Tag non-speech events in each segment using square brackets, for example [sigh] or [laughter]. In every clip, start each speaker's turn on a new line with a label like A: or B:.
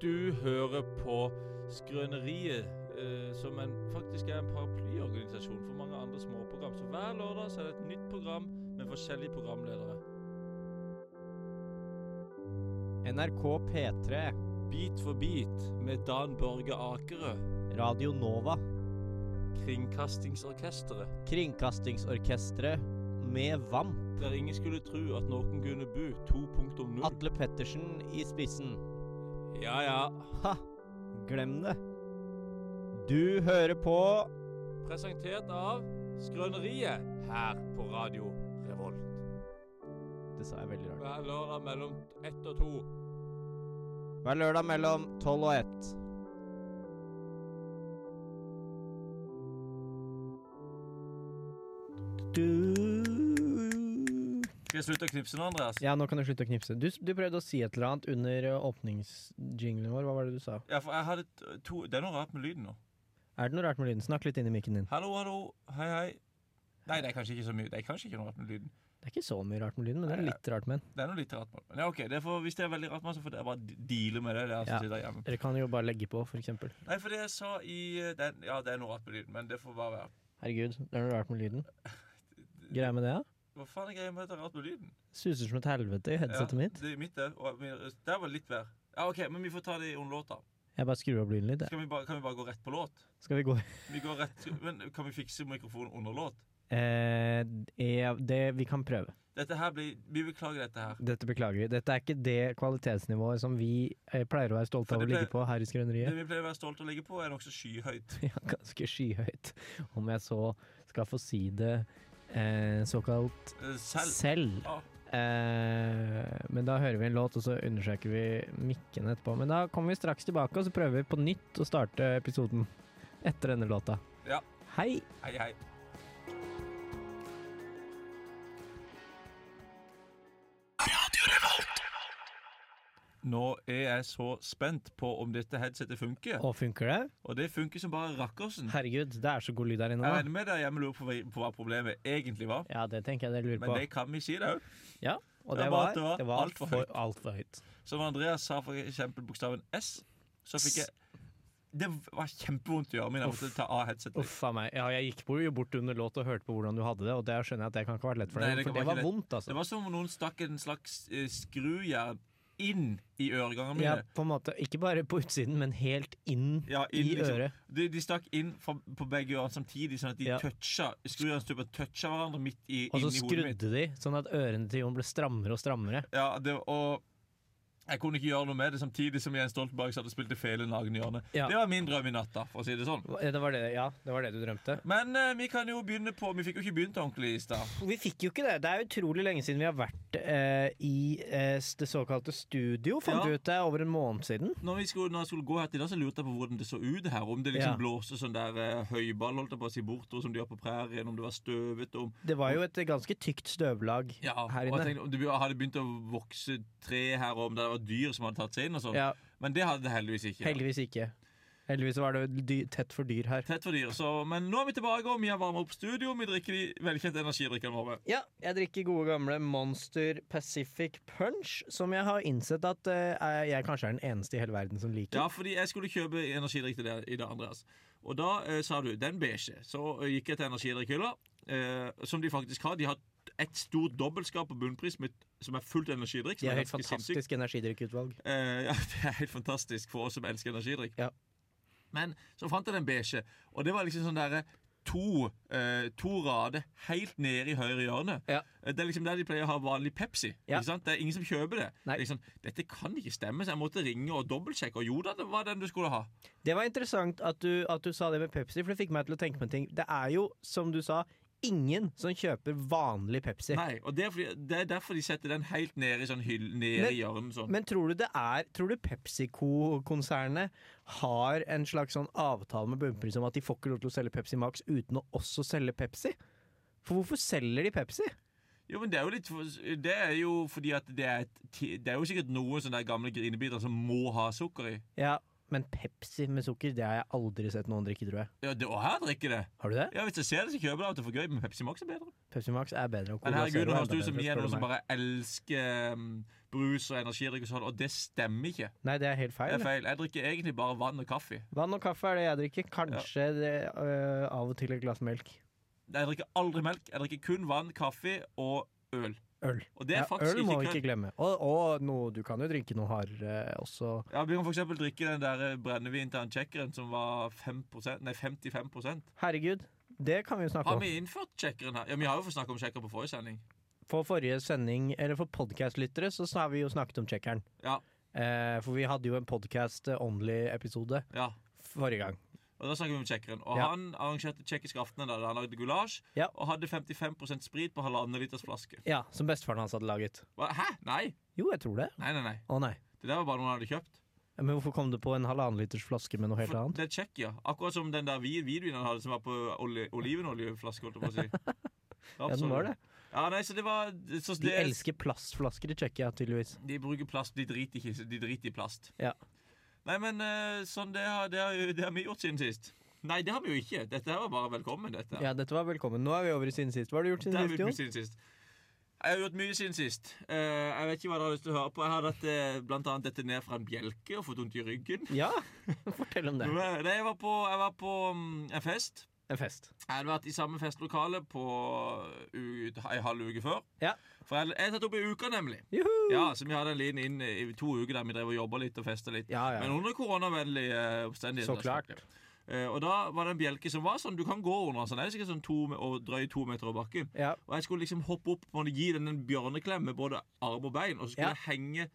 A: Du hører på Skrøneriet, eh, som en, faktisk er en paraplyorganisasjon for mange andre småprogram. Så hver lørdag så er det et nytt program med forskjellige programledere.
B: NRK P3,
A: Bit for bit med Dan Børge Akerø,
B: Radio Nova,
A: Kringkastingsorkesteret.
B: Kringkastingsorkestret med VAM,
A: Der ingen skulle tro at noen kunne bo 2.0.
B: Atle Pettersen i spissen.
A: Ja ja.
B: Ha! Glem det. Du hører på
A: Presentert av Skrøneriet her på Radio Revolt.
B: Det sa jeg veldig rart.
A: Hver lørdag mellom ett og to.
B: Hver lørdag mellom 12 og 1. Du
A: Skal jeg slutte å knipse nå, Andreas?
C: Ja, nå kan du slutte å knipse. Du, du prøvde å si et eller annet under eh, åpningsjinglen vår. Hva var det du sa?
A: Ja, for jeg hadde t- to Det er noe rart med lyden nå.
C: Er det noe rart med lyden? Snakk litt inn i mikken din.
A: Hallo, hallo. Hei, hei. Nei, det er kanskje ikke så mye Det er kanskje ikke noe rart med lyden.
C: Det er ikke så mye rart med lyden, men det er litt rart med den.
A: Det er noe litt rart med den. Men ja, ok, det får, Hvis det er veldig rart med den, så får dere bare de- deale med det. det er,
C: Ja.
A: som sitter hjemme.
C: Dere kan jo bare legge på, for eksempel.
A: Nei, for det jeg sa i eh, det, er- Ja, det er noe rart med lyden, men det får bare være.
C: Herregud, det er noe rart med
A: [laughs]
C: lyden. Greia med det, ja?
A: Hva faen er greia med at det er rart med lyden?
C: Suser som et helvete i headsetet mitt.
A: Det er mitt, det. Og min, der var det litt vær. Ja, ok, Men vi får ta det under låta.
C: Jeg bare skrur opp lyden litt. jeg.
A: Skal vi bare, kan vi bare gå rett på låt?
C: Skal vi gå
A: Vi går rett, men Kan vi fikse mikrofonen under låt?
C: eh, eh, Det vi kan prøve.
A: Dette her blir, Vi beklager dette her.
C: Dette beklager vi. Dette er ikke det kvalitetsnivået som vi eh, pleier å være
A: For
C: stolte av å
A: det
C: ligge på her i
A: Det
C: Skrøneriet. [laughs]
A: vi pleier å være stolt av å ligge på, er nokså skyhøyt.
C: Ja, ganske skyhøyt. Om jeg så skal få si det eh, såkalt
A: Eh, Selv.
C: selv.
A: Ja.
C: Eh, men da hører vi en låt, og så undersøker vi mikken etterpå. Men da kommer vi straks tilbake, og så prøver vi på nytt å starte episoden etter denne låta.
A: Ja.
C: Hei!
A: Hei, hei. Nå er jeg så spent på om dette headsetet funker.
C: Å, funker det?
A: Og det funker som bare rakkersen.
C: Herregud, det er så god lyd her inne
A: Jeg
C: nå.
A: regner med deg hjemme lurer på, hva- på hva problemet egentlig var.
C: Ja, det tenker jeg dere lurer
A: Men
C: på.
A: det kan vi si, det òg.
C: Ja, og
A: Det
C: det
A: er bare
C: var,
A: at det var
C: det var
A: alt for høyt.
C: alt for høyt.
A: Som Andreas sa for eksempel bokstaven S, så fikk jeg Det var kjempevondt i ørene mine. Jeg måtte ta av headsetet.
C: Uff a meg. Ja, jeg gikk på, jo bort under låt og hørte på hvordan du hadde det, og det skjønner jeg at det kan ikke ha vært lett for
A: Nei,
C: deg.
A: det
C: For
A: var
C: det
A: ikke
C: var
A: lett.
C: vondt,
A: Det
C: altså.
A: var som om noen stakk en slags eh, skrujern inn i øregangene
C: Ja,
A: mine.
C: på en måte. Ikke bare på utsiden, men helt inn
A: Ja,
C: i
A: inn, liksom.
C: øret.
A: De, de stakk inn fra, på begge ørene samtidig, sånn at de
C: Ja.
A: toucha skrujernstupen toucha hverandre midt i,
C: Og så
A: inn i hodet mitt.
C: skrudde de, sånn at ørene til Jon ble strammere og strammere.
A: Ja, det, og jeg kunne ikke gjøre noe med det, samtidig som Jens Stoltenberg satt og spilte fele nagen i hjørnet.
C: Ja.
A: Det var min drøm i natta, for å si det sånn.
C: Hva- Det var det, ja, det var det du drømte.
A: Men eh, vi kan jo begynne på Vi fikk jo ikke begynt ordentlig i stad.
C: Vi fikk jo ikke det. Det er utrolig lenge siden vi har vært eh, i eh, det såkalte studio, fant
A: Ja.
C: vi ut det, over en måned siden.
A: Når, vi skulle- når jeg skulle gå her til dag, så lurte jeg på hvordan det så ut her. Om det liksom
C: Ja.
A: blåste sånn der eh, høyball, holdt jeg på å si, bortover som de gjør på prærien, om det var støvete, om
C: Det var jo et ganske tykt støvlag
A: Ja,
C: her
A: og
C: inne.
A: jeg tenkte om det hadde begynt å vokse tre her, og om det var dyr som hadde tatt seg inn. og sånn.
C: ja,
A: Men det hadde det heldigvis ikke.
C: heldigvis ikke. Heldigvis var det dy tett for dyr her.
A: Tett for dyr, så, Men nå er vi tilbake, og vi har varma opp studio. og Vi drikker de velkjente energidrikkene våre.
C: Ja, jeg drikker gode gamle Monster Pacific Punch, som jeg har innsett at eh, jeg kanskje er den eneste i hele verden som liker.
A: Ja, fordi jeg skulle kjøpe energidrikk til deg i dag, Andreas. Og da eh, sa du 'den beige'. Så eh, gikk jeg til energidrikkhylla, eh, som de faktisk har. De har et stort dobbeltskap på bunnpris med, som er fullt energidrikk. som
C: De har
A: er
C: helt
A: ganske sinnssykt.
C: fantastisk energidrikkutvalg.
A: Eh, ja, [laughs] det er helt fantastisk for oss som elsker energidrikk.
C: Ja.
A: Men så fant jeg den beige, og det var liksom sånn derre To, eh, to rader helt nede i høyre hjørne.
C: Ja.
A: Eh, Det er liksom der de pleier å ha vanlig Pepsi.
C: Ja.
A: Ikke sant? Det er ingen som kjøper det.
C: Nei.
A: Liksom, Dette kan ikke stemme, så jeg måtte ringe og dobbeltsjekke. Og jo da, det var den du skulle ha.
C: Det var interessant at du, at du sa det med Pepsi, for det fikk meg til å tenke på en ting. Det er jo, som du sa, ingen som kjøper vanlig Pepsi.
A: Nei, og Det er, fordi, det er derfor de setter den helt nede i sånn hyll, nede
C: Men-
A: i hjørnet. Sånn.
C: Men tror du det er Tror du PepsiCo-konsernet har en slags sånn avtale med bunnpris om at de får ikke lov til å selge Pepsi Max uten å også selge Pepsi? For hvorfor selger de Pepsi?
A: Jo, men Det er jo litt for, Det er jo fordi at det er, et, ti- det er jo sikkert noen sånne der gamle grinebiter som må ha sukker i.
C: Ja, men Pepsi med sukker, det har jeg aldri sett noen drikke, tror jeg.
A: Ja, det, og her drikker det.
C: Har du det?
A: Ja, Hvis jeg ser det, så kjøper jeg av og til for gøy, men Pepsi Max er bedre.
C: Pepsi Max er bedre enn
A: Men
C: Cola
A: herregud,
C: Zero
A: nå
C: er
A: høres det ut
C: bedre,
A: som vi er
C: spør
A: noen
C: du
A: som
C: meg.
A: bare elsker um, brus og energidrikk og sånn, og det stemmer ikke.
C: Nei, det er helt
A: Det
C: feil.
A: er feil. Jeg drikker egentlig bare vann og kaffe.
C: Vann og kaffe er det jeg drikker. Kanskje det, øh, av og til et glass melk.
A: Jeg drikker aldri melk. Jeg drikker kun vann, kaffe og øl.
C: Øl.
A: Og det er
C: Ja,
A: faktisk
C: øl må vi
A: ikke
C: ikke
A: kødd.
C: glemme. Og, og noe, du kan jo drikke noe hardere også.
A: Ja, vi kan for eksempel drikke den der eh, brennevin til han tsjekkeren som var 5 nei, 55
C: Herregud, det kan vi jo snakke
A: Har
C: om.
A: vi innført tsjekkeren her? Ja, Vi har jo fått snakke om tsjekker på forrige sending.
C: For forrige sending, eller for podkastlyttere, så har vi jo snakket om tsjekkeren.
A: Ja.
C: Eh, for vi hadde jo en podkast-only-episode
A: Ja.
C: forrige gang.
A: Og da snakker vi om tsjekkeren. Og
C: Ja.
A: han arrangerte tsjekkisk aften der han lagde gulasj
C: Ja.
A: og hadde 55 sprit på halvannen liters flaske.
C: Ja, Som bestefaren hans hadde laget.
A: Hva? Hæ? Nei.
C: Jo, jeg tror det.
A: Nei, nei, nei.
C: Å nei.
A: Det der var bare noe han hadde kjøpt.
C: Men hvorfor kom det på en halvannen liters flaske med noe helt
A: For
C: annet?
A: det er Tsjekkia. Akkurat som den der vi- videoen han hadde som var på oli olivenoljeflaske, holdt jeg på å si.
C: [laughs] Ja, den var det.
A: Ja, nei, så det var så
C: De
A: det,
C: elsker plastflasker i Tsjekkia, tydeligvis.
A: De bruker plast. De driter ikke De driter i plast.
C: Ja.
A: Nei, men eh, sånn det har, det, har, jo- det har vi gjort siden sist. Nei, det har vi jo ikke. Dette her var bare velkommen, dette.
C: Ja, dette var velkommen. Nå er vi over i siden sist. Hva har du gjort
A: Det har
C: siden
A: vi
C: sist,
A: gjort
C: Jon?
A: siden sist. Jeg har gjort mye siden sist. Eh, jeg vet ikke hva dere har lyst til å høre på. Jeg har dette, blant annet dette ned fra en bjelke og fått vondt i ryggen.
C: Ja, [laughs] fortell om det.
A: Nei, jeg var på, jeg var på mm, en fest.
C: En fest.
A: Jeg hadde vært i samme festlokale på u- ei halv uke før.
C: Ja.
A: For jeg, jeg satt opp i uka, nemlig.
C: Juhu!
A: Ja, Så vi hadde en liten inn i to uker der vi drev og jobba litt og festa litt.
C: Ja, ja.
A: Men under koronavennlige eh, omstendigheter.
C: Så klart.
A: Eh, og da var det en bjelke som var sånn, du kan gå under. Så det er sikkert sånn to, me- og drøye to meter over bakken.
C: Ja.
A: Og jeg skulle liksom hoppe opp på den og gi den en bjørneklem med både arm og bein, og så skulle
C: Ja.
A: jeg henge,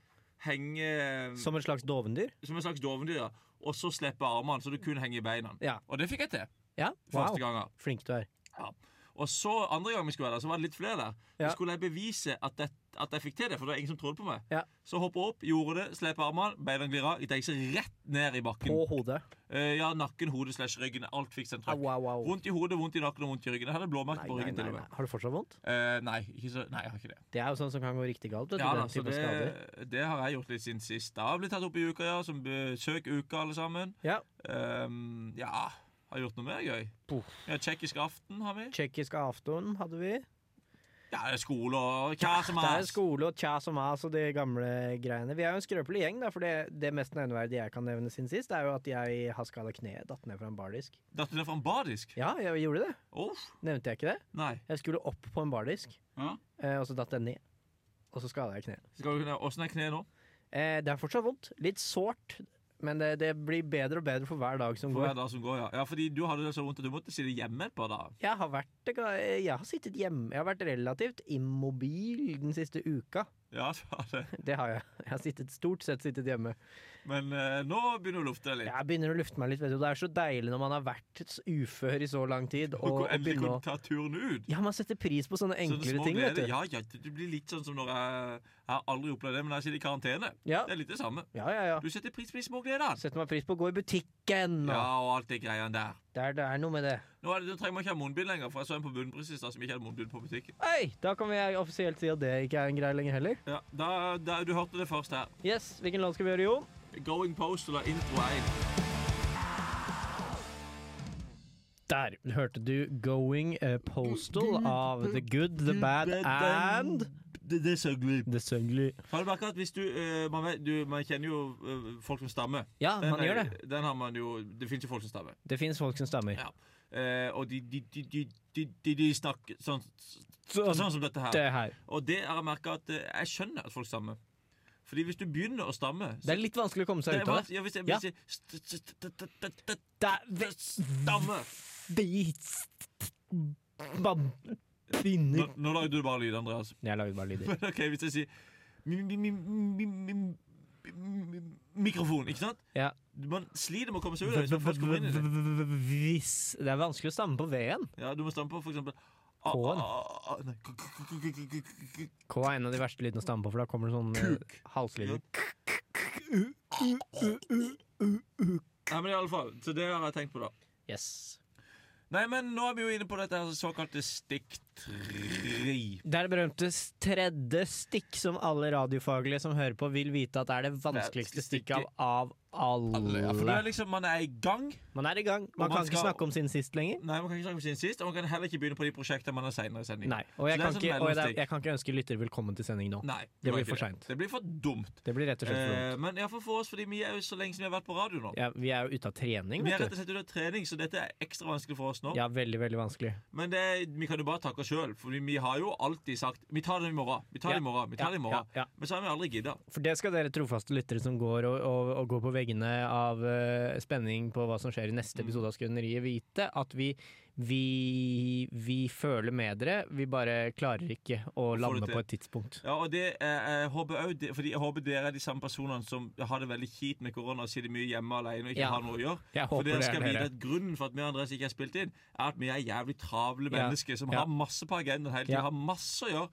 A: henge som,
C: Som et slags dovendyr?
A: en slags dovendyr, ja. og så slippe armene, så du kun henger i beina.
C: Ja.
A: Og det fikk jeg til.
C: Ja, wow.
A: Første gangen.
C: Flink du er.
A: Og så andre gang vi skulle være der, så var det litt flere der.
C: Ja.
A: Så skulle jeg bevise at, det, at jeg fikk til det, for det var ingen som trodde på meg.
C: Ja.
A: Så hoppa opp, gjorde det, slipp armene, beina glir av. Jeg gikk rett ned i bakken.
C: På hodet.
A: Eh, ja, nakken, hodet slash ryggen. Alt fikk sentralt.
C: Au, au, au.
A: Vondt i hodet, vondt i nakken og vondt i ryggen. Jeg hadde blåmerke
C: Nei,
A: på
C: nei,
A: ryggen
C: nei,
A: til og
C: nei.
A: med.
C: Har du fortsatt vondt?
A: Eh, nei, ikke så, nei, jeg har ikke det.
C: Det er jo sånn som kan gå riktig galt. Vet du,
A: Ja, da,
C: den
A: så
C: type skader.
A: det, det har jeg gjort litt siden sist. Jeg har blitt tatt opp i uka, ja. Som besøk uka, alle sammen.
C: Ja.
A: Ehm, ja, har gjort noe mer gøy.
C: Puff.
A: Ja, Tsjekkisk aften har vi.
C: Tsjekkisk aften hadde vi.
A: Ja, det er skole og hva som
C: Det er
A: helst.
C: skole og tja som as og de gamle greiene. Vi er jo en skrøpelig gjeng, da, for det, det mest nevneverdige jeg kan nevne siden sist, er jo at jeg har skada kneet. Datt ned fra en bardisk.
A: Datt du ned fra en bardisk?
C: Ja, jeg gjorde det.
A: Uff,
C: Nevnte jeg ikke det?
A: nei.
C: Jeg skulle opp på en bardisk,
A: Ja.
C: eh, og så datt den ned. Og så skada jeg kneet.
A: Skal du, kunne- hvordan er kneet nå?
C: Eh, det er fortsatt vondt. Litt sårt. Men det, det blir bedre og bedre for hver dag som
A: For hver
C: går.
A: dag som går, ja. ja. Fordi du hadde det så vondt at du måtte sitte hjemme et par dager.
C: Jeg har, vært, jeg har sittet hjemme. Jeg har vært relativt immobil den siste uka. [laughs]
A: Ja, du har det.
C: Det har jeg. Jeg har sittet, stort sett sittet hjemme.
A: Men eh, nå begynner du å lufte deg litt.
C: Jeg begynner å lufte meg litt. Vet du. Det er så deilig når man har vært s- ufør i så lang tid.
A: [laughs]
C: Og,
A: Og
C: og
A: endelig
C: begynne å
A: kunne ta turen ut.
C: Ja, man setter pris på sånne
A: Så det
C: enklere
A: små
C: ting, vet
A: gleder.
C: du.
A: Ja, ja, det det blir litt sånn som når jeg, jeg har aldri opplevd det, men jeg sitter i karantene.
C: Ja,
A: Det er litt det samme.
C: ja, ja. ja.
A: Du setter pris på de små gledene.
C: Setter meg pris på å gå i butikken. Og.
A: Ja, og alt det greiene der.
C: Det, er, det er noe med det.
A: Nå er det, du trenger man ikke ha munnbind lenger, for jeg så en på bunnpris i stad som ikke hadde munnbind på butikken.
C: Hei! Da kan vi offisielt si at det ikke er en greie lenger heller.
A: Ja, da, da, Du hørte det først her.
C: Yes, Hvilken land skal vi gjøre, Jon?
A: Going Postal er intro 1.
C: Der hørte du 'Going eh, Postal' av The Good, The Bad and
A: Det, det er så glipp.
C: The Sungly.
A: Har du merket at hvis du, eh, man, vet, du Man kjenner jo eh, folk som stammer.
C: Ja,
A: Den
C: man
A: er-
C: gjør det.
A: Den har man jo, det fins jo folk som stammer.
C: Det fins folk som stammer.
A: Ja. Eh, og de, de, de, de, de, de, de snakker sånn,
C: Sånn.
A: sånn som dette her.
C: Det her.
A: Og det har jeg merket at eh, jeg skjønner at folk stammer. Fordi hvis du begynner å stamme så-
C: Det er litt vanskelig å komme
A: Det
C: seg
A: er
C: ut av det.
A: vans- ja, hvis jeg,
C: Ja.
A: hvis jeg, st- st- st- st- st- st-
C: Det
A: Stamme!
C: Man
A: Nå,
C: begynner
A: nå lagde du bare lyd, Andreas.
C: Jeg lager bare lyder.
A: Men ok, hvis jeg sier mi- mi- mi- mi- mi- mi- mi- Mikrofon, ikke sant?
C: Ja.
A: Man sliter med å komme seg ut av det. hvis man først kommer inn i det.
C: Hvis Det er vanskelig å stamme på V-en.
A: Ja, du må stamme på for eksempel a-
C: K-en.
A: a- a- nei, k- k- k- k- k- k- k-
C: K er en av de verste lydene å stamme på, for da kommer det sånn eh, halslyder.
A: Nei, men i alle fall, Så det har jeg tenkt på, da.
C: Yes.
A: Nei, men nå er vi jo inne på dette her såkalte stikk tre.
C: Det er det berømte s- tredje stikk som alle radiofaglige som hører på, vil vite at er det vanskeligste stikket av, av alle.
D: Alle, ja,
A: For det er liksom, man er i gang.
C: Man er i gang.
A: Og man
C: Man kan ikke
A: skal-
C: snakke om sin sist lenger.
A: Nei, man kan ikke snakke om siden sist, og man kan heller ikke begynne på de prosjektene man har senere i sendingen.
C: Nei. Og
A: Så
C: jeg
A: det er
C: kan,
A: sånn
C: ikke, og jeg,
A: mellomsteg.
C: jeg kan ikke ønske lyttere velkommen til sending nå.
A: Nei,
C: Det
A: kan
C: blir
A: ikke
C: for seint.
A: Det blir for dumt.
C: Det blir rett og slett for
A: Eh,
C: dumt.
A: men iallfall for oss, fordi vi er jo så lenge som vi har vært på radio nå.
C: Ja, vi er jo ute av trening,
A: Vi er rett
C: vet
A: og
C: du.
A: slett ute av trening, så dette er ekstra vanskelig for oss nå.
C: Ja, veldig, veldig vanskelig.
A: Men det, vi kan jo bare takke oss sjøl, for vi har jo alltid sagt Vi tar det i morgen. Vi tar det i morgen. Vi tar
C: Ja,
A: det i
C: ja,
A: morgen.
C: ja.
A: Men så har vi aldri gidda.
C: For det skal dere trofaste lyttere som går og, og, og går på veggene av eh, spenning på hva som skjer i neste episode av Skrøneriet, vite at vi, vi, vi føler med dere. Vi bare klarer ikke å
A: det
C: lande
A: til.
C: på et tidspunkt.
A: Ja, og det eh, jeg håper jeg òg Fordi jeg håper dere er de samme personene som har det veldig kjipt med korona og sitter mye hjemme alene og ikke
C: Ja.
A: har noe å gjøre.
C: Jeg
A: For
C: håper
A: dere
C: det
A: skal
C: er
A: vite
C: dere.
A: at Grunnen for at vi og Andreas ikke har spilt inn, er at vi er jævlig travle
C: Ja.
A: mennesker som
C: Ja.
A: har masse på agendaen hele
C: Ja.
A: tida. Har masse å gjøre.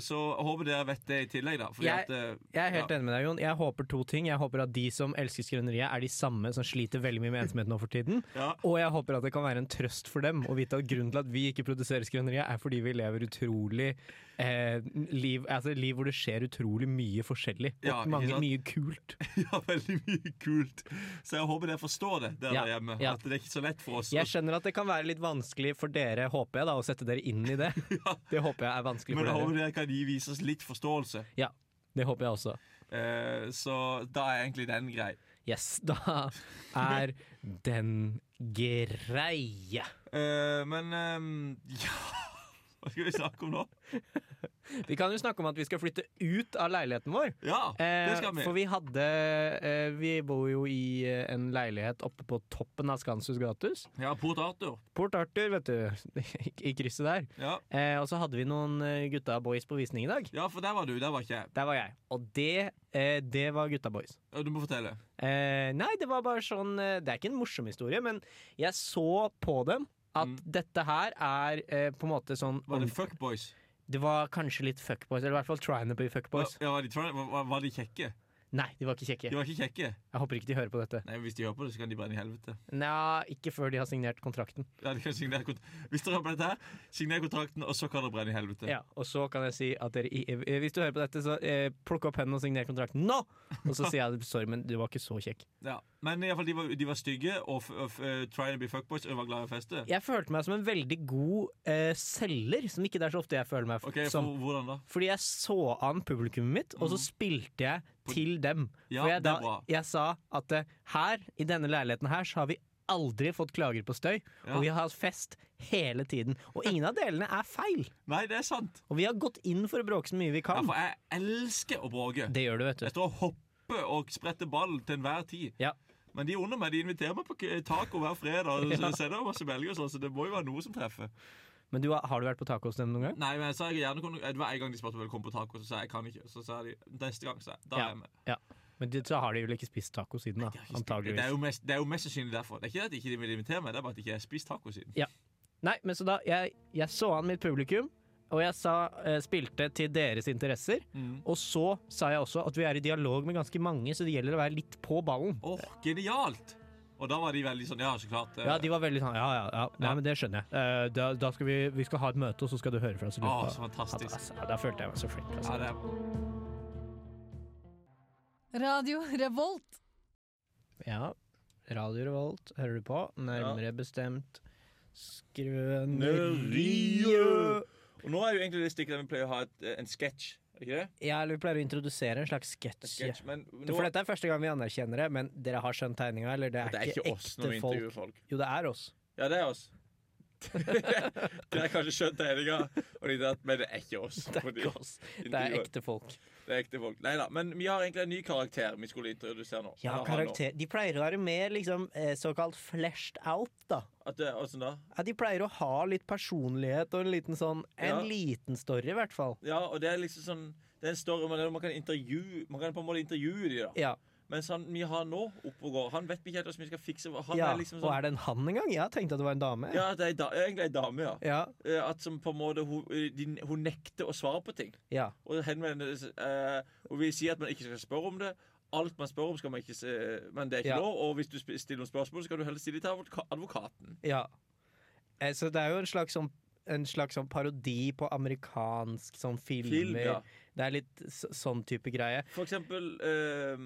A: Så jeg håper dere vet det i tillegg, da. Fordi
C: Jeg-
A: at eh,
C: Jeg er helt
A: [laughs]
C: enig med deg, Jon. Jeg håper to ting. Jeg håper at de som elsker Skrøneriet, er de samme som sliter veldig mye med ensomhet nå for tiden.
A: ja,
C: Og jeg håper at det kan være en trøst for dem å vite at grunnen til at vi ikke produserer Skrøneriet, er fordi vi lever utrolig eh, liv, altså liv hvor det skjer utrolig mye forskjellig. Og
A: Ja, ikke
C: mange,
A: sant?
C: mye kult.
A: ja, veldig mye kult. Så jeg håper dere forstår det der,
C: Ja.
A: der hjemme.
C: Ja.
A: At det er ikke så lett for oss.
C: Jeg skjønner at det kan være litt vanskelig for dere, håper jeg, da, å sette dere
A: [laughs]
C: inn i det. Det håper jeg er vanskelig
A: Men
C: for
A: jeg
C: dere.
A: håper dere kan gi- vise oss litt forståelse.
C: Ja, det håper jeg også.
A: Eh, så da er egentlig den grei.
C: Yes, da er den greie.
A: Eh, men eh, [laughs] ja Hva skal vi snakke om nå?
C: Vi kan jo snakke om at vi skal flytte ut av leiligheten vår.
A: Ja, det
C: Eh,
A: skal vi.
C: for vi hadde eh, Vi bor jo i eh, en leilighet oppe på toppen av Skanshus Gatus.
A: Ja, Port Arthur.
C: Port Arthur, vet du. [laughs] I, i krysset der.
A: Ja.
C: Eh, og så hadde vi noen eh, gutta boys på visning i dag.
A: ja, for der var du. Der var ikke jeg.
C: Der var jeg. Og det, eh, det var gutta boys.
A: Ja, Du må fortelle.
C: Eh, nei, det var bare sånn eh, Det er ikke en morsom historie, men jeg så på dem at
A: Mm.
C: dette her er eh, på en måte sånn
A: Var det Fuckboys?
C: Det var kanskje litt fuckboys, eller i hvert fall trying to be fuckboys.
A: Ja, var, de, trying- var, var de kjekke?
C: Nei, de var ikke
A: De
C: kjekke.
A: var ikke kjekke.
C: Jeg håper ikke de hører på dette.
A: Nei, Hvis de hører på det, så kan de brenne i helvete.
C: Nja, ikke før de har signert kontrakten.
A: Ja, de kan signere kont hvis dere hører på dette, her, signer kontrakten, og så kan dere brenne i helvete.
C: Ja, og så kan jeg si at dere i- eh, Hvis du hører på dette, så eh, plukk opp pennen og signer kontrakten nå! Og så sier jeg sorry, men du var ikke så kjekk.
A: Ja. Men i alle fall, de var, de var stygge og, f og f eh, trying to be fuckboys, og de var glad i å feste.
C: Jeg følte meg som en veldig god eh, selger, som ikke det er så ofte jeg føler meg f-
A: Ok, for,
C: som.
A: Hvordan da?
C: Fordi jeg så an publikummet mitt, og så spilte jeg til dem.
A: Mm. Ja,
C: For jeg,
A: det
C: da,
A: er bra.
C: jeg sa at eh, her, i denne leiligheten her, så har vi aldri fått klager på støy.
A: Ja.
C: Og vi har hatt fest hele tiden. Og ingen av delene er feil.
A: Nei, det er sant.
C: Og vi har gått inn for å bråke så mye vi
A: Ja,
C: kan.
A: for jeg elsker å bråke.
C: Det gjør du, vet du.
A: Jeg står og hopper og spretter ball til enhver tid.
C: Ja.
A: Men de er under meg. De inviterer meg på k- taco hver [laughs] fredag. Og så sender meg masse belger og sånn, så det må jo være noe som treffer.
C: Men du, har- har du vært på taco hos dem noen gang?
A: Nei, men jeg sa jeg gjerne kunne Det var en gang de spurte om jeg ville komme på taco, så sa jeg jeg kan ikke. Så sa de neste gang, sa jeg. Da
C: Ja.
A: er jeg med.
C: Ja. Men de, så har de vel ikke spist taco siden, da.
A: De har ikke spist-
C: Antageligvis.
A: Det er, jo mest, det er jo mest sannsynlig derfor. Det er ikke det at ikke de ikke vil invitere meg, det er bare at jeg ikke har spist taco siden.
C: Nei, men så da Jeg, jeg så an mitt publikum, og jeg sa eh, spilte til deres interesser.
A: Mhm.
C: Og så sa jeg også at vi er i dialog med ganske mange, så det gjelder å være litt på ballen.
A: Åh, genialt! Og da var de veldig sånn Ja, så klart. eh,
C: Ja, de var veldig sånn Ja, ja, ja. Nei, men det skjønner jeg. Eh, da, da skal vi Vi skal ha et møte, og så skal du høre fra oss. i løpet
A: Åh,
C: av-
A: så fantastisk.
C: Altså, ja, da følte jeg meg så flink. Altså.
A: Ja, det er
D: Radio Revolt.
C: Ja. Radio Revolt hører du på. Nærmere bestemt Skrøneriet.
A: Skrøneriet. Og nå er jo egentlig det stikket der vi pleier å ha et, en sketsj. er Ikke det?
C: Ja, eller vi pleier å introdusere en slags
A: En
C: sketsj.
A: sketsj. Men nå,
C: For dette er første gang vi anerkjenner det, men dere har skjønt tegninga, eller? Det er,
A: det er ikke
C: ikke
A: oss når
C: ekte
A: vi
C: folk.
A: intervjuer folk.
C: Jo, det er oss.
A: Ja, det er oss. [laughs] det er kanskje skjønt tegninga, og de der, men det er ikke oss.
C: Det er
A: fordi
C: ikke oss. Det er
A: intervjuet-
C: ekte folk.
A: det er ekte folk. Neida, Men vi har egentlig en ny karakter vi skulle introdusere nå.
C: Ja,
A: Eller ha nå.
C: karakter De pleier å være mer liksom eh, såkalt fleshed out, da.
A: At det, åssen da?
C: Ja, de pleier å ha litt personlighet og en liten sånn En
A: Ja.
C: liten story, i hvert fall.
A: Ja, og det er liksom sånn Det er en story man, man kan intervjue Man kan på en måte intervjue de da.
C: Ja.
A: Mens han vi har nå oppe og går, han vet vi ikke helt hvordan vi skal fikse Han
C: ja.
A: er liksom
C: Og
A: sånn
C: er det en han engang? Jeg tenkte at det var en dame.
A: Ja, det er ei da, egentlig ei dame, ja.
C: Ja.
A: Eh, At som på en måte hun, eh, de- hun nekter å svare på ting.
C: ja.
A: Og henvender seg eh, Og vi sier at man ikke skal spørre om det. Alt man spør om, skal man ikke se, men det er ikke
C: Ja.
A: lov. Og hvis du sp- stiller noen spørsmål, så kan du heller stille til advoka- advokaten.
C: Ja. Eh, Så det er jo en slags sånn en slags sånn parodi på amerikansk sånn filmer.
A: Film, ja.
C: Det er litt så, sånn type greie.
A: For eksempel eh,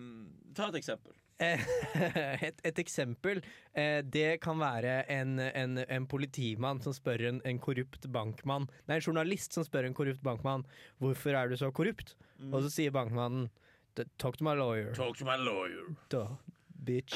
A: Ta et eksempel.
C: Eh, [laughs] Et, et eksempel eh, Det kan være en, en, en politimann som spør en, en korrupt bankmann Nei, en journalist som spør en korrupt bankmann Hvorfor er du så korrupt?
A: Mm.
C: Og så sier bankmannen "D- Talk to my lawyer
A: Talk to my lawyer.
C: da, Bitch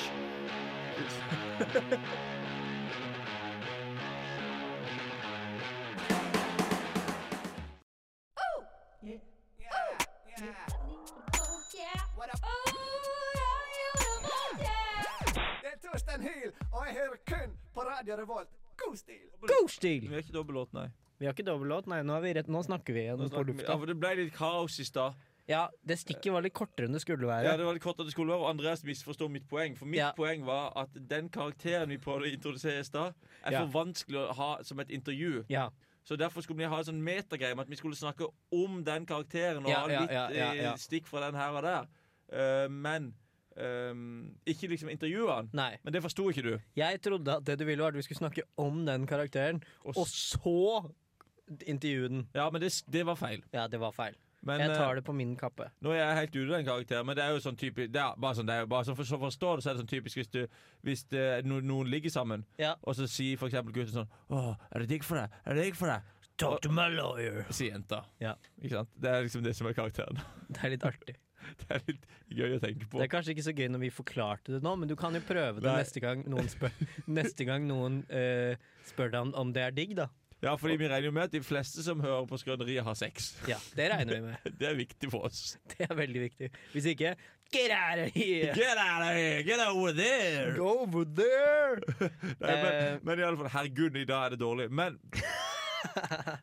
E: Det er Torstein Hyl, og jeg hører kun på Radio Revolt. God stil!
C: God stil!
A: Vi har ikke dobbellåt, nei.
C: Vi har ikke dobbellåt, nei, nå, er vi rett, nå snakker vi igjen
A: Nå
C: på
A: snakker vi-
C: lufta
A: Ja, for det ble litt kaos i stad.
C: Ja, det stikket var litt kortere enn det skulle
A: Ja,
C: være
A: det var litt kort at det skulle være, og Andreas misforstod mitt poeng. For mitt
C: Ja.
A: poeng var at den karakteren vi prøvde å introdusere i stad, er
C: Ja.
A: for vanskelig å ha som et intervju.
C: Ja,
A: Så derfor skulle vi ha en sånn metagreie med at vi skulle snakke om den karakteren og
C: Ja,
A: ha
C: ja,
A: litt
C: ja, ja,
A: eh,
C: ja.
A: stikk fra den her og der. Eh, men eh, ikke liksom intervjue han.
C: nei
A: Men det forsto ikke du.
C: Jeg trodde at det du ville var at vi skulle snakke om den karakteren
A: Og
C: Og så intervjue den
A: Ja, men det, det var feil.
C: Ja, det var feil
A: Men,
C: Jeg
A: eh,
C: tar det på min kappe
A: Nå er jeg helt ute av den karakteren, men det er jo sånn typisk det er bare sånn, det er jo bare sånn for, så forstår det, så er det sånn typisk hvis, du, hvis det, no, noen ligger sammen,
C: Ja.
A: og så sier for eksempel gutten sånn Åh, er det digg for deg? Er det digg for deg?
C: Talk to my lawyer
A: Sier jenta.
C: Ja.
A: Ikke sant? Det er liksom det som er karakteren. [laughs]
C: Det er litt artig
A: Det er litt gøy å tenke på.
C: Det er kanskje ikke så gøy når vi forklarte det nå Men du kan jo prøve det
A: Nei.
C: neste gang noen [laughs] spør Neste gang noen eh, spør deg om, om det er digg da
A: Ja, fordi vi regner jo med at de fleste som hører på Skrøneriet, har sex. [laughs]
C: Ja, det regner vi med
A: Det er viktig for oss.
C: Det er veldig viktig Hvis ikke Get out of here
A: Get out of here! Get over there!
C: Go over there
A: Nei, men,
C: Eh.
A: men i alle fall, herregud, i dag er det dårlig. Men
C: [laughs]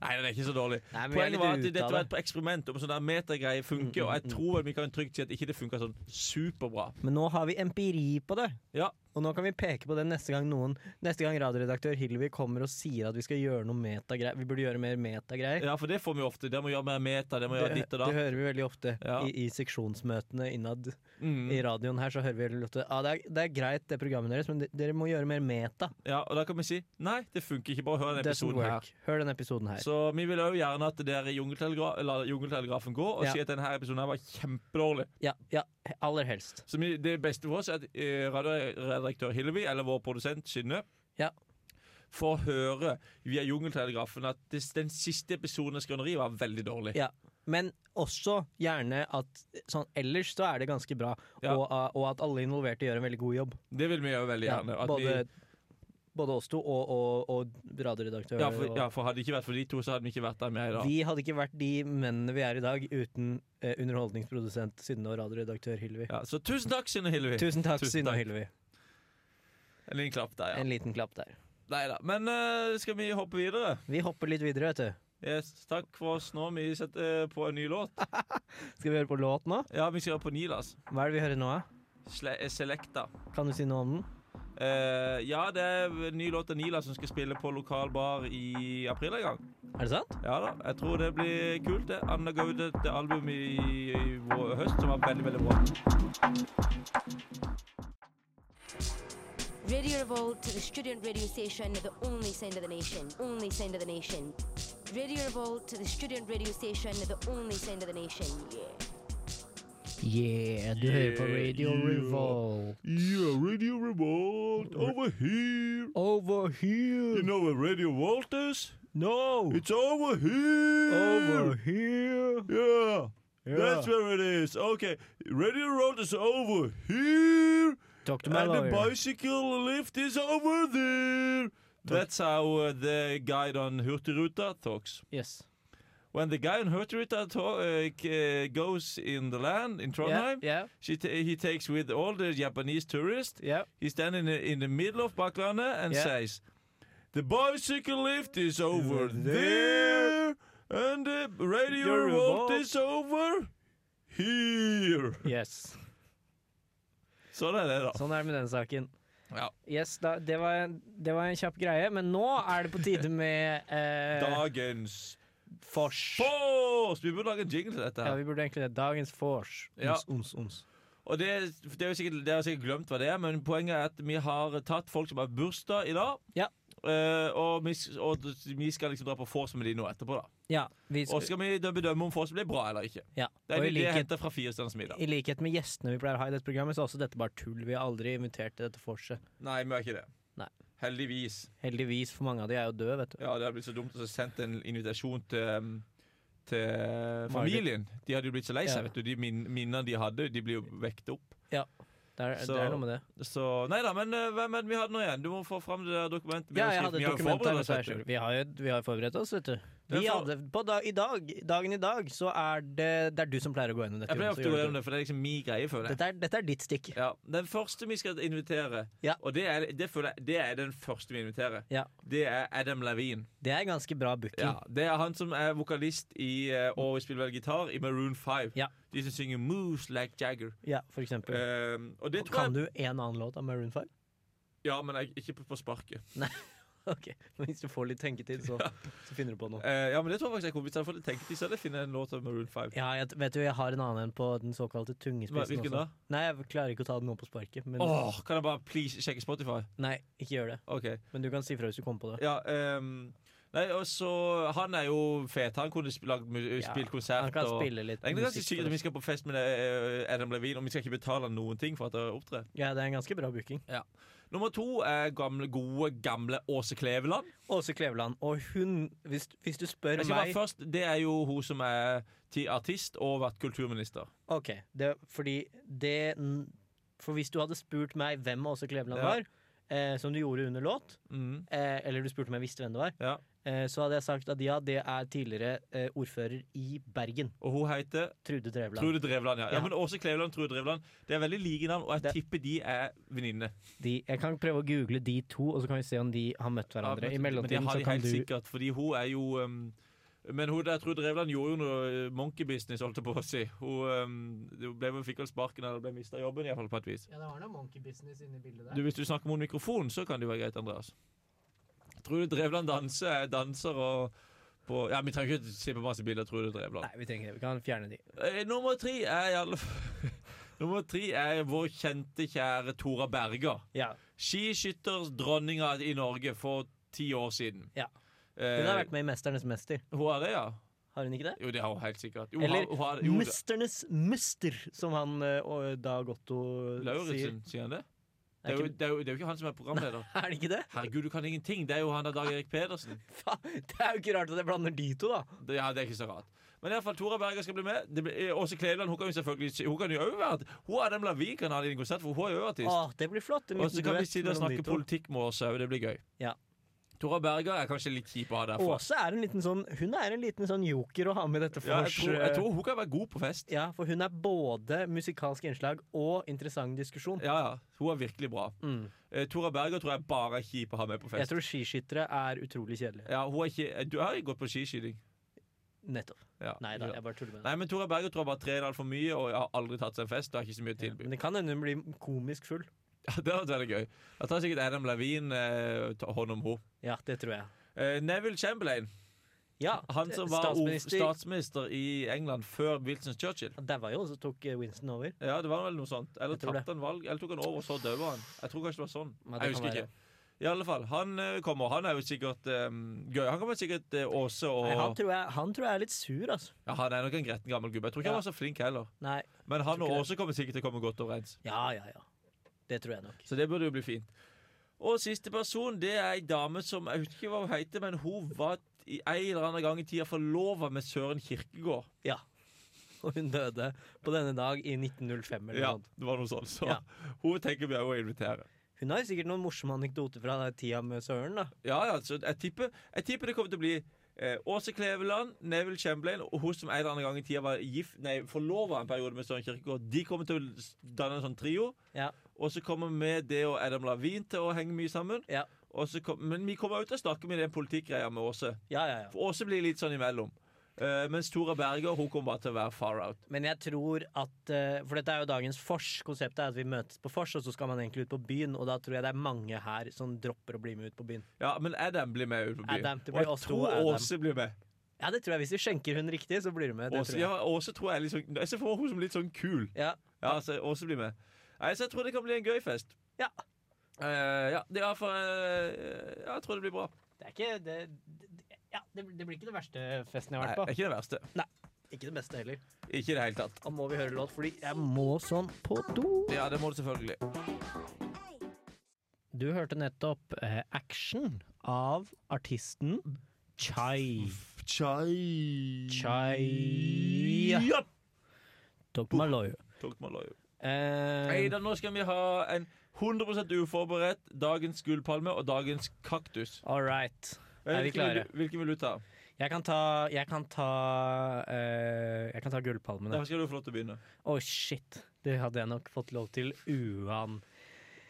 A: Nei, den er ikke så dårlig.
C: Nei, men vi er
A: Poenget
C: litt
A: var at
C: ute
A: dette
C: av
A: var
C: det. Mm,
A: et eksperiment om sånn der metagreier funker, og jeg tror vel vi kan trygt si at ikke det funka sånn superbra.
C: Men nå har vi empiri på det
A: Ja,
C: Og nå kan vi peke på det neste gang noen Neste gang radioredaktør Hilvi kommer og sier at vi skal gjøre noe metagreier Vi burde gjøre mer metagreier
A: ja, for det får vi jo ofte. Det må gjøre mer meta, det må gjøre
C: det,
A: ditt og datt.
C: hører vi veldig ofte
A: Ja.
C: i, i seksjonsmøtene innad
A: Mm.
C: i radioen her. Så hører vi veldig ofte ah, det, er, det er greit, det programmet deres, men de, dere må gjøre mer meta.
A: Ja, og da kan vi si nei, det funker ikke. Bare hør denne
C: Doesn't
A: episoden her.
C: work. Hør den episoden her.
A: Så vi vil òg gjerne at dere jungeltelegra la jungeltelegrafen gå og
C: Ja.
A: si at denne her episoden her var kjempedårlig.
C: Ja, ja, aller helst.
A: Så vi, det beste for oss er at eh, radioredaktør Hillevi, eller vår produsent Synne,
C: Ja.
A: får høre via Jungeltelegrafen at det, den siste episoden av Skrøneriet var veldig dårlig.
C: Ja. Men også gjerne at sånn ellers så er det ganske bra,
A: Ja.
C: og, ah, og at alle involverte gjør en veldig god jobb.
A: Det vil vi gjøre veldig
C: Ja,
A: gjerne. at
C: både,
A: vi,
C: både oss to og, og, og radioredaktør.
A: ja, for,
C: og-
A: ja, for hadde det ikke vært for de to, så hadde vi ikke vært der med i dag.
C: Vi hadde ikke vært de mennene vi er i dag uten eh, underholdningsprodusent Synne og radioredaktør Hylvi.
A: Ja, så tusen takk, Synne Hillevi.
C: Tusen takk,
A: Tusen
C: Synne og
A: takk.
C: Hylvi.
A: En liten klapp der, ja.
C: En liten klapp der.
A: Neida. Men eh, skal vi hoppe videre?
C: Vi hopper litt videre, vet du.
A: Yes, takk for oss nå. Vi setter eh, på en ny låt.
C: Skal vi høre på låt nå?
A: Ja, vi skal høre på Nilas.
C: Hva er det vi hører nå, da?
A: Sle eh, Selecta.
C: Kan du si noe om den?
A: Eh, ja, det er en ny låt av Nilas som skal spille på lokal bar i april en gang.
C: Er det sant?
A: Ja da, jeg tror det blir kult. det. Anna ga ut et album i, i vår høst som var veldig, veldig bra.
F: Radio Revolt, the student radio station, the only sound of the nation, only sound of the nation. Radio Revolt, the student radio station, the only sound of the nation. Yeah.
C: Yeah, du hører på Radio Revolt.
A: Yeah, Radio Revolt over here.
C: Over here.
A: know where Radio Revolt is?
C: No.
A: It's over here.
C: here.
A: Yeah.
C: That's
A: where it is. Okay, Radio Revolt is over here.
C: Talk to my lawyer.
A: bicycle lift is over there. That's how uh, the guide on Hurtigruta talks.
C: Yes.
A: When the guy on Hurtigruta to- uh, k- uh, goes in the land in
C: Yeah,
A: Trondheim,
C: yeah,
A: she ta- he takes with all the Japanese tourists.
C: yeah.
A: He's standing in the, in the middle of Baklana and
C: Yeah.
A: says, "The bicycle lift is over there, and the radio
C: Your
A: revolt
C: revolt."
A: is over here."
C: Yes.
A: Sånn er det, da.
C: Sånn er det med den saken.
A: Ja.
C: Yes, da, det, var, en- det var en kjapp greie, men nå er det på tide med eh,
A: Dagens
C: Fors.
A: Fors! Vi burde lage en jingle til dette.
C: Ja,
A: her
C: vi burde egentlig det. Dagens vors.
A: Ja.
C: Ons, ons, ons.
A: Og det, det er jo sikkert, Dere har sikkert glemt hva det er, men poenget er at vi har tatt folk som har bursdag i dag.
C: Ja.
A: Eh, eh, og, vi, s- og d- vi skal liksom dra på vors med de nå etterpå, da.
C: Ja, vi
A: Og
C: skal,
A: så skal vi dø- bedømme om vors blir bra eller ikke.
C: ja.
A: Det er
C: Og i
A: det jeg
C: likhet,
A: henter fra Fire stjerners middag.
C: I likhet med gjestene vi pleier å ha i dette programmet, så er også dette bare tull. Vi har aldri invitert til dette vorset.
A: Nei, vi er ikke det.
C: Nei.
A: Heldigvis.
C: Heldigvis, for mange av de er jo døde, vet du.
A: Ja, det hadde blitt så dumt å sende en invitasjon til um, til familien. De hadde jo blitt så lei seg.
C: Ja.
A: vet du De min minnene de hadde, de blir jo vekt opp.
C: Det er,
A: Så-
C: det er noe med det.
A: Så Nei da, men eh, hvem er det vi hadde nå igjen? Du må få fram det der dokumentet.
C: Ja, jeg hadde
A: Vi
C: et
A: har jo
C: dokument her.
A: forberedt
C: vet
A: oss, vet
C: du,
A: du.
C: Sjur. Vi har jo vi har jo forberedt oss, vet du.
A: Det er
C: Vi
A: for-
C: hadde, på da, i dag, dagen i dag så er det Det er du som pleier å gå gjennom dette.
A: Jeg pleier
C: Jonas, og
A: ofte å gå
C: gjør
A: gjennom det, for det er liksom min greie,
C: det.
A: føler jeg.
C: Dette er, dette er ditt stikk.
A: Ja, den første vi skal invitere,
C: Ja.
A: og det er, det, føler jeg, det er den første vi inviterer,
C: Ja.
A: det er Adam Levine.
C: Det er ganske bra booking.
A: Ja, det er han som er vokalist i, eh, og spiller vel gitar i Maroon 5.
C: Ja.
A: De som synger 'Moose Like Jagger'.
C: Ja, for eksempel.
A: Um, og det tror
C: Kan
A: jeg
C: du en annen låt av Maroon 5?
A: Ja, men jeg, ikke på, på sparket.
C: [laughs] Ok, men Hvis du får litt tenketid, så, så finner du på noe.
A: Eh, ja, men det tror jeg faktisk jeg kommer til å få litt tenketid, så hadde jeg funnet en låt av Maroon 5.
C: Ja, jeg, vet du, jeg har en annen en på den såkalte tungespissen.
A: Hva- Hvilken
C: også.
A: da?
C: Nei, jeg klarer ikke å ta den nå på sparket. Men,
A: Åh, kan jeg bare please sjekke Spotify?
C: Nei, ikke gjør det.
A: OK.
C: Men du kan si fra hvis du kommer på det.
A: Ja, ehm, Nei, og så Han er jo fet. Han kunne sp lagd mu-
C: Ja,
A: spilt konsert.
C: Han kan
A: og,
C: spille litt
A: det er egentlig ganske
C: musikk
A: sykt
C: for
A: at vi
C: oss.
A: skal på fest med eh, Adam Levine, og vi skal ikke betale han noen ting for at han opptrer.
C: Ja, det er en ganske bra booking.
A: Nummer to er gamle, gode, gamle Åse Kleveland.
C: Åse Kleveland, og hun Hvis, hvis du spør
A: Jeg skal bare
C: meg
A: først, Det er jo hun som er ti- artist og vært kulturminister.
C: Ok, det, fordi det n- For hvis du hadde spurt meg hvem Åse Kleveland
A: Ja.
C: var, eh, som du gjorde under låt,
A: Mm.
C: eh, eller du spurte om jeg visste hvem det var,
A: Ja.
C: eh, så hadde jeg sagt at ja, det er tidligere eh, ordfører i Bergen.
A: Og hun heter
C: Trude Drevland.
A: Trude Drevland. Ja. ja,
C: Ja.
A: men Åse Kleveland Trude Drevland. Det er veldig like navn, og jeg
C: Det-
A: tipper de er venninner.
C: De, jeg kan prøve å google de to, og så kan vi se om de har møtt
A: Ja,
C: hverandre. I
A: men- men det
C: mellomtiden
A: har
C: så
A: de
C: kan
A: helt
C: du
A: sikkert, fordi hun er jo um, Men hun der Trude Drevland gjorde jo noe eh, monkey business, holdt jeg på å si. Hun, um, hun ble, hun fikk vel sparken eller ble mista jobben, i hvert fall på et vis.
C: Ja, det var noe monkey business inni bildet
A: Du, hvis du snakker mot mikrofonen, så kan det jo være greit, Andreas. Trude Drevland danser, er danser og på, ja, Vi trenger ikke se på masse bilder av Trude Drevland.
C: Nei, vi trenger det. Vi kan fjerne de.
A: Eh, Nummer tre er i alle fall [laughs] Nummer tre er vår kjente, kjære Tora Berger.
C: Ja.
A: Skiskytterdronninga i Norge for ti år siden.
C: Ja.
A: Eh,
C: Hun har vært med i 'Mesternes mester',
A: Hun har det, ja?
C: har hun ikke det?
A: Jo, det har hun helt sikkert. Jo,
C: Eller
A: har- hun har, jo,
C: 'Mesternes mester', som han eh, og Dag Otto
A: det-
C: sier. [laughs]
A: Lauritzen, sier han det? Det
C: Er,
A: er, jo,
C: ikke,
A: det, er jo, det er jo ikke han som er programleder.
C: er det ikke det?
A: Herregud, du kan ingenting! Det er jo han der Dag Erik Pedersen.
C: Faen, det er jo ikke rart at jeg blander de to, da.
A: Det, ja, det er ikke så rart. Men i alle fall, Tora Berger skal bli med. Det blir- eh, Åse Kleveland hun kan jo selvfølgelig Hun kan jo også være Hun Adam Lavin kan ha det i en konsert, for hun er jo artist.
C: Åh, Ah, det blir flott. en
A: Og
C: liten
A: så kan vi
C: duett
A: sitte og
C: mellom de
A: snakke
C: to.
A: politikk med oss òg. Det blir gøy.
C: Ja.
A: Tora Berger er kanskje litt kjip å ha derfra.
C: Åse er en liten sånn Hun er en liten sånn joker å ha med i dette
A: Ja, jeg,
C: vors,
A: tror, jeg
C: eh,
A: tror hun kan være god på fest.
C: Ja, for hun er både musikalsk innslag og interessant diskusjon.
A: Ja, ja. Hun er virkelig bra.
C: Mm.
A: Eh, Tora Berger tror jeg bare er kjip å ha med på
C: Jeg
A: fest.
C: tror skiskyttere er utrolig kjedelige.
A: Ja, hun er ikke, eh, du har jo gått på skiskyting.
C: Nettopp.
A: Ja.
C: Nei da,
A: Ja.
C: jeg bare tuller med det.
A: Nei, men Tora Berger tror jeg bare trener altfor mye og har aldri tatt seg en fest. Og har ikke så mye å tilby.
C: Men det kan hende hun blir komisk full.
A: Ja, [laughs] det hadde vært veldig gøy. Da tar sikkert Adam Lavin eh, ta hånd om henne.
C: Ja, det tror jeg.
A: Eh, Neville Chamberlain,
C: Ja,
A: han som var statsminister.
C: statsminister
A: statsminister i England før Wilson Churchill.
C: Han daua jo, og så tok eh, Winston over.
A: Ja, det var vel noe sånt. Eller
C: Jeg tror det.
A: tapte han valg, eller tok han over, og så døde han. Jeg tror kanskje det var sånn.
C: Ja, det
A: jeg
C: kan
A: husker
C: være.
A: ikke. I alle fall, han eh, kommer. Han er jo sikkert eh, gøy. Han kommer sikkert eh, Åse og
C: Nei, han, tror jeg, han tror jeg er litt sur, altså.
A: ja, Han er nok en gretten gammel gubbe. Jeg tror ikke
C: Ja.
A: han var så flink heller.
C: Nei.
A: Men han
C: Tror
A: og
C: ikke
A: Åse kommer sikkert til å komme godt overens.
C: Ja, ja, ja. Det tror jeg nok.
A: Så det burde jo bli fint. Og siste person, det er ei dame som Jeg husker ikke hva hun heter, men hun var i en eller annen gang i tida forlova med Søren Kirkegård.
C: Ja. Og hun døde på denne dag i 1905 eller noe
A: Ja,
C: sånt.
A: det var noe sånt. Så
C: Ja.
A: hun tenker vi òg å invitere.
C: Hun har sikkert noen morsomme anekdoter fra den tida med Søren. da
A: Ja, ja, så jeg tipper, jeg tipper det kommer til å bli eh, Åse Kleveland, Neville Chamberlain og hun som en eller annen gang i tida var gift Nei, forlova en periode med Søren Kirkegaard. De kommer til å s- danne en sånn trio.
C: Ja.
A: Og så kommer vi det og Adam Lavin til å henge mye sammen.
C: Ja.
A: Og så kom, men vi kommer jo til å snakke med den politikkgreia med Åse.
C: Ja, ja, ja.
A: For Åse blir litt sånn imellom. Eh, mens Tora Berger hun kommer bare til å være far out.
C: Men jeg tror at eh, For dette er jo dagens fors. Konseptet er at vi møtes på fors, og så skal man egentlig ut på byen. Og da tror jeg det er mange her som dropper å bli med ut på byen.
A: Ja, Men Adam blir med ut på byen.
C: Adam, det
A: og
C: blir
A: jeg
C: oss to
A: tror
C: og Adam.
A: Åse blir med.
C: Ja, det tror jeg. Hvis vi skjenker hun riktig, så blir hun med. Det
A: Åse,
C: tror jeg.
A: ja, Åse tror jeg er litt sånn Jeg ser for meg hun som litt sånn kul.
C: Ja.
A: Ja, så Åse blir med. Nei, så jeg tror det kan bli en gøy fest.
C: Ja.
A: Eh, ja, det er for, eh, ja, jeg tror det blir bra.
C: Det er ikke det, det- ja, det, det blir ikke det verste festen jeg
A: Nei, det er
C: har vært på.
A: ikke det verste.
C: Ikke det beste heller.
A: Ikke i det hele tatt.
C: Da må vi høre låt, fordi jeg må sånn på do.
A: Ja, det må du selvfølgelig.
C: Du hørte nettopp eh, Action av artisten Chai.
A: Chai
C: Chai
A: Ja.
C: Tok Maloy.
A: Tok meg løy.
C: Eh,
A: Eida, nå skal vi ha en 100 uforberedt dagens gullpalme og dagens kaktus.
C: all right.
A: Hvilken
C: Er vi
A: vil
C: klare?
A: du- Hvilken vil du ta?
C: Jeg kan ta Jeg kan ta, eh, jeg kan ta gullpalmene.
A: Der skal du få lov til å begynne.
C: Å, shit. Det hadde jeg nok fått lov til uansett.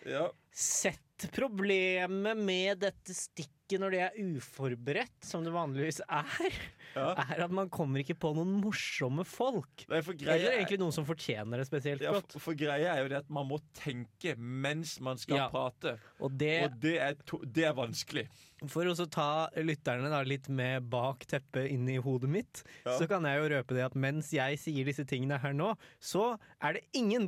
A: Ja.
C: Problemet med dette stikket når det er uforberedt, som det vanligvis er,
A: Ja.
C: er at man kommer ikke på noen morsomme folk.
A: Nei, for
C: Eller
A: greia,
C: egentlig noen som fortjener det spesielt
A: ja,
C: godt.
A: for, for greia er jo det at man må tenke mens man skal
C: Ja.
A: prate.
C: Og det,
A: Og det er, to, det er vanskelig.
C: for å så ta lytterne da litt med bak teppet inn i hodet mitt,
A: Ja.
C: så kan jeg jo røpe det at mens jeg sier disse tingene her nå, så er det ingen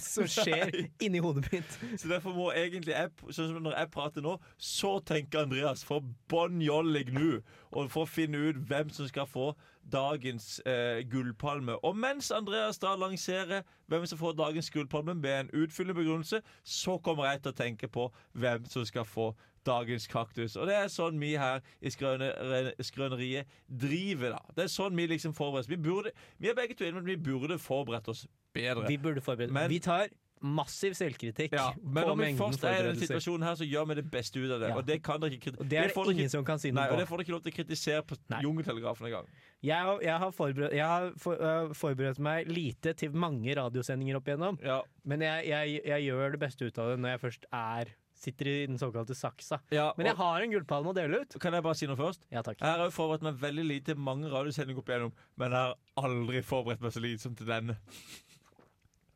A: [laughs]
C: som skjer inni hodet mitt.
A: Så derfor må egentlig jeg, sånn som når jeg prater nå, så tenker Andreas for bånn jollig nå. Og for å finne ut hvem som skal få dagens eh, gullpalme. Og mens Andreas da lanserer hvem som får dagens gullpalme med en utfyllende begrunnelse, så kommer jeg til å tenke på hvem som skal få dagens kaktus. Og det er sånn vi her i Skrøne- Skrøneriet driver, da. Det er sånn vi liksom forbereder oss. Vi, burde, vi er begge to enige, men vi burde forberedt oss bedre.
C: Vi burde forberede
A: Men-
C: Vi tar massiv selvkritikk
A: Ja, men
C: på
A: når vi
C: mengden
A: først er i den
C: forberedelser.
A: situasjonen her, så gjør vi det beste ut av det.
C: Ja.
A: Og det kan dere ikke kritisere.
C: Og det er det ingen
A: ikke,
C: som kan si
A: nei,
C: noe
A: og
C: på.
A: det får dere ikke lov til å kritisere på
C: Nei.
A: Jungeltelegrafen engang.
C: Jeg har, jeg har, forberedt, jeg har for, øh, forberedt meg lite til mange radiosendinger opp igjennom,
A: Ja.
C: men jeg, jeg, jeg gjør det beste ut av det når jeg først er sitter i den såkalte saksa.
A: Ja,
C: Men jeg
A: og,
C: har en gullpalme å dele ut.
A: kan jeg bare si noe først?
C: Ja takk.
A: Jeg har jo forberedt meg veldig lite til mange radiosendinger opp igjennom, men jeg har aldri forberedt meg så lite som til denne.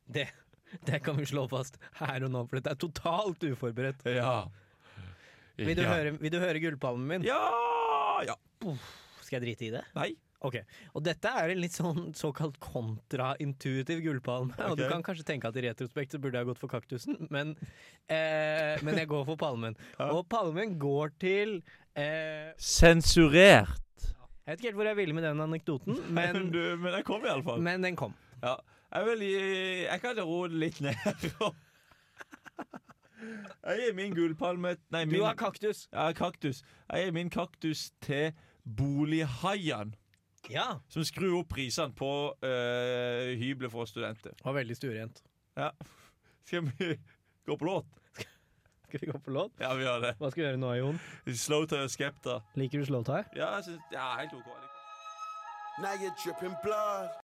C: Det, det kan vi slå fast her og nå, for dette er totalt uforberedt.
A: Ja.
C: Vil du
A: ja.
C: høre, vil du høre gullpalmen min?
A: Ja! ja.
C: Skal jeg drite i det?
A: Nei.
C: Ok, Og dette er en litt sånn såkalt kontraintuitiv gullpalme. Og du
A: Ok.
C: kan kanskje tenke at i retrospekt så burde jeg gått for kaktusen, men, eh, men jeg går for [laughs] palmen.
A: Ja.
C: Og palmen går til eh,
A: Sensurert.
C: Jeg vet ikke helt hvor jeg ville med den anekdoten, [laughs]
A: Men,
C: men,
A: du, men jeg kom iallfall.
C: men den kom.
A: Ja. Jeg vil gi Jeg kan roe det litt ned. [laughs] Jeg gir min gullpalme Nei,
C: Du
A: min
C: har kaktus.
A: Ja, kaktus. Jeg gir min kaktus til bolighaiene,
C: Ja.
A: som skrur opp prisene på uh, hybler for studenter.
C: Det var veldig stuerent.
A: Ja. Skal vi [laughs] gå på låt?
C: Skal vi gå på låt?
A: Ja, vi gjør det.
C: Hva skal vi gjøre nå, Jon?
A: Slow Tire Skepta.
C: Liker du slowtie?
A: Ja, jeg synes, ja, helt OK.
G: Now you're dripping blood.